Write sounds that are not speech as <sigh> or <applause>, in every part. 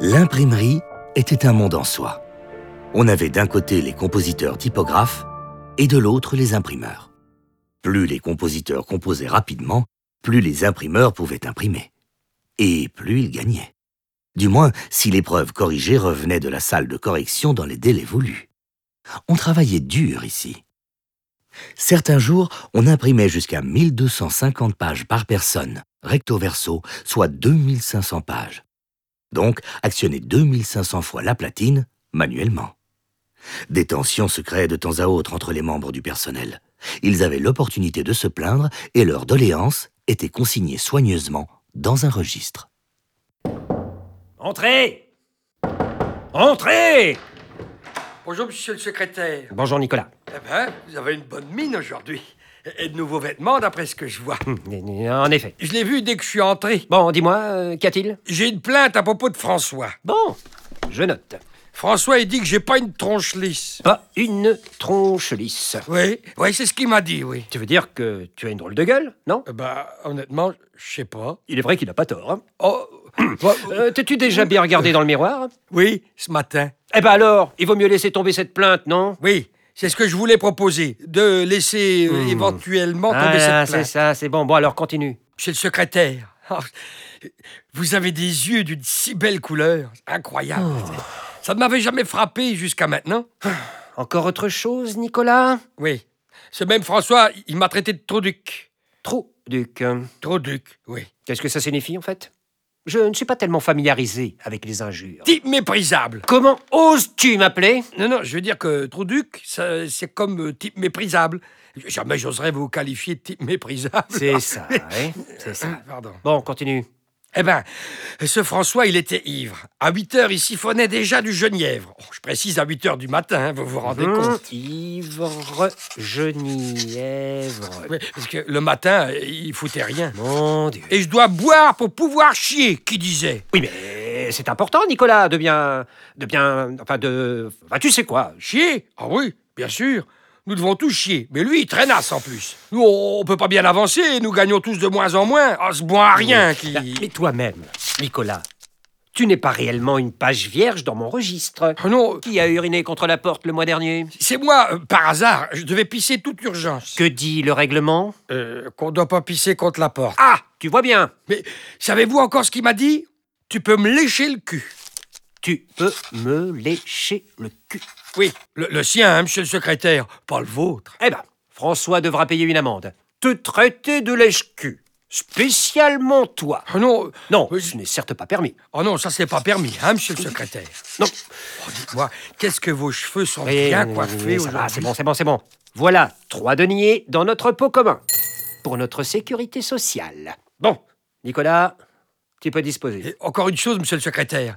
L'imprimerie était un monde en soi. On avait d'un côté les compositeurs typographes et de l'autre les imprimeurs. Plus les compositeurs composaient rapidement, plus les imprimeurs pouvaient imprimer. Et plus ils gagnaient. Du moins, si l'épreuve corrigée revenait de la salle de correction dans les délais voulus. On travaillait dur ici. Certains jours, on imprimait jusqu'à 1250 pages par personne, recto verso, soit 2500 pages. Donc, actionner 2500 fois la platine manuellement. Des tensions se créaient de temps à autre entre les membres du personnel. Ils avaient l'opportunité de se plaindre et leurs doléances étaient consignées soigneusement dans un registre. Entrez Entrez Bonjour, monsieur le secrétaire. Bonjour Nicolas. Eh ben, vous avez une bonne mine aujourd'hui. Et de nouveaux vêtements, d'après ce que je vois. Hum, En effet. Je l'ai vu dès que je suis entré. Bon, dis-moi, euh, qu'y a-t-il J'ai une plainte à propos de François. Bon, je note. François, il dit que j'ai pas une tronche lisse. Pas une tronche lisse. Oui, oui, c'est ce qu'il m'a dit, oui. Tu veux dire que tu as une drôle de gueule, non Eh ben, honnêtement, je sais pas. Il est vrai qu'il n'a pas tort. hein. Oh, bah, euh, Euh, T'es-tu déjà bien regardé dans le miroir oui, ce matin. Eh ben alors, il vaut mieux laisser tomber cette plainte, non Oui, c'est ce que je voulais proposer. De laisser euh, éventuellement tomber Hmm. Ah, cette c'est plainte. ça, c'est bon. Bon, alors continue. Monsieur le secrétaire, Oh, vous avez des yeux d'une si belle couleur. Incroyable. Ça ne m'avait jamais frappé jusqu'à maintenant. Encore autre chose, Nicolas Oui. Ce même François, il m'a traité de Troduc. Trop, Duc. euh, Troduc, oui. Qu'est-ce que ça signifie, en fait Je ne suis pas tellement familiarisé avec les injures. Type méprisable. Comment oses-tu m'appeler Non, non, je veux dire que Troduc, ça, c'est comme euh, type méprisable. Jamais j'oserais vous qualifier de type méprisable. Ah, C'est ça, hein C'est ça. Pardon. Bon, continue. Eh ben, ce François, il était ivre. À 8 heures, il siphonnait déjà du genièvre. Oh, je précise à 8 heures du matin, hein, vous vous Hum. rendez Mmh. compte. Ivre Genièvre. Oui, parce que le matin, euh, il foutait rien. Mon Dieu. Et je dois boire pour pouvoir chier, qui disait. Oui, mais c'est important, Nicolas, de bien. de bien. enfin, de. enfin, tu sais quoi Chier Ah oui, bien sûr. Nous devons tous chier. Mais lui, il traînasse en plus. Nous, on on peut pas bien avancer. Nous gagnons tous de moins en moins. Ah, ce bon à rien qui. Mais toi-même, Nicolas, tu n'es pas réellement une page vierge dans mon registre. Ah non, Qui a uriné contre la porte le mois dernier c'est moi, euh, par hasard. Je devais pisser toute urgence. Que dit le règlement Euh, Qu'on doit pas pisser contre la porte. Ah, tu vois bien, Mais savez-vous encore ce qu'il m'a dit Tu peux me lécher le cul. tu peux me lécher le cul. Oui, le, le sien, hein, monsieur le secrétaire, pas le vôtre. Eh ben, François devra payer une amende. Te traiter de lèche-cul. Spécialement toi. Ah non, euh, Non, Oui. ce n'est certes pas permis. oh non, ça c'est pas permis, hein, monsieur le secrétaire. Non. Oh, dites-moi, qu'est-ce que vos cheveux sont Oui, bien oui, oui, coiffés oui, Eh, ça va, aujourd'hui. C'est bon, c'est bon, c'est bon. Voilà, trois deniers dans notre pot commun. Pour notre sécurité sociale. Bon, Nicolas, tu peux disposer. Et encore une chose, monsieur le secrétaire.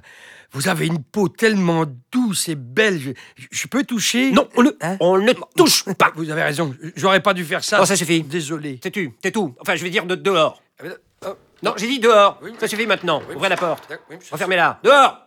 Vous avez une peau tellement douce et belle. Je, je- je peux toucher Non, on ne, Hein on ne touche <laughs> pas. Vous avez raison. J'aurais pas dû faire ça. Oh, ça suffit. Désolé. T'es tu, t'es tout. Enfin, je vais dire de dehors. Ah, mais- ah, Non, j'ai dit dehors. Oui, mais- Ça suffit maintenant. oui, Ouvrez la monsieur- porte. d'ac- oui, monsieur- Refermez-la. Dehors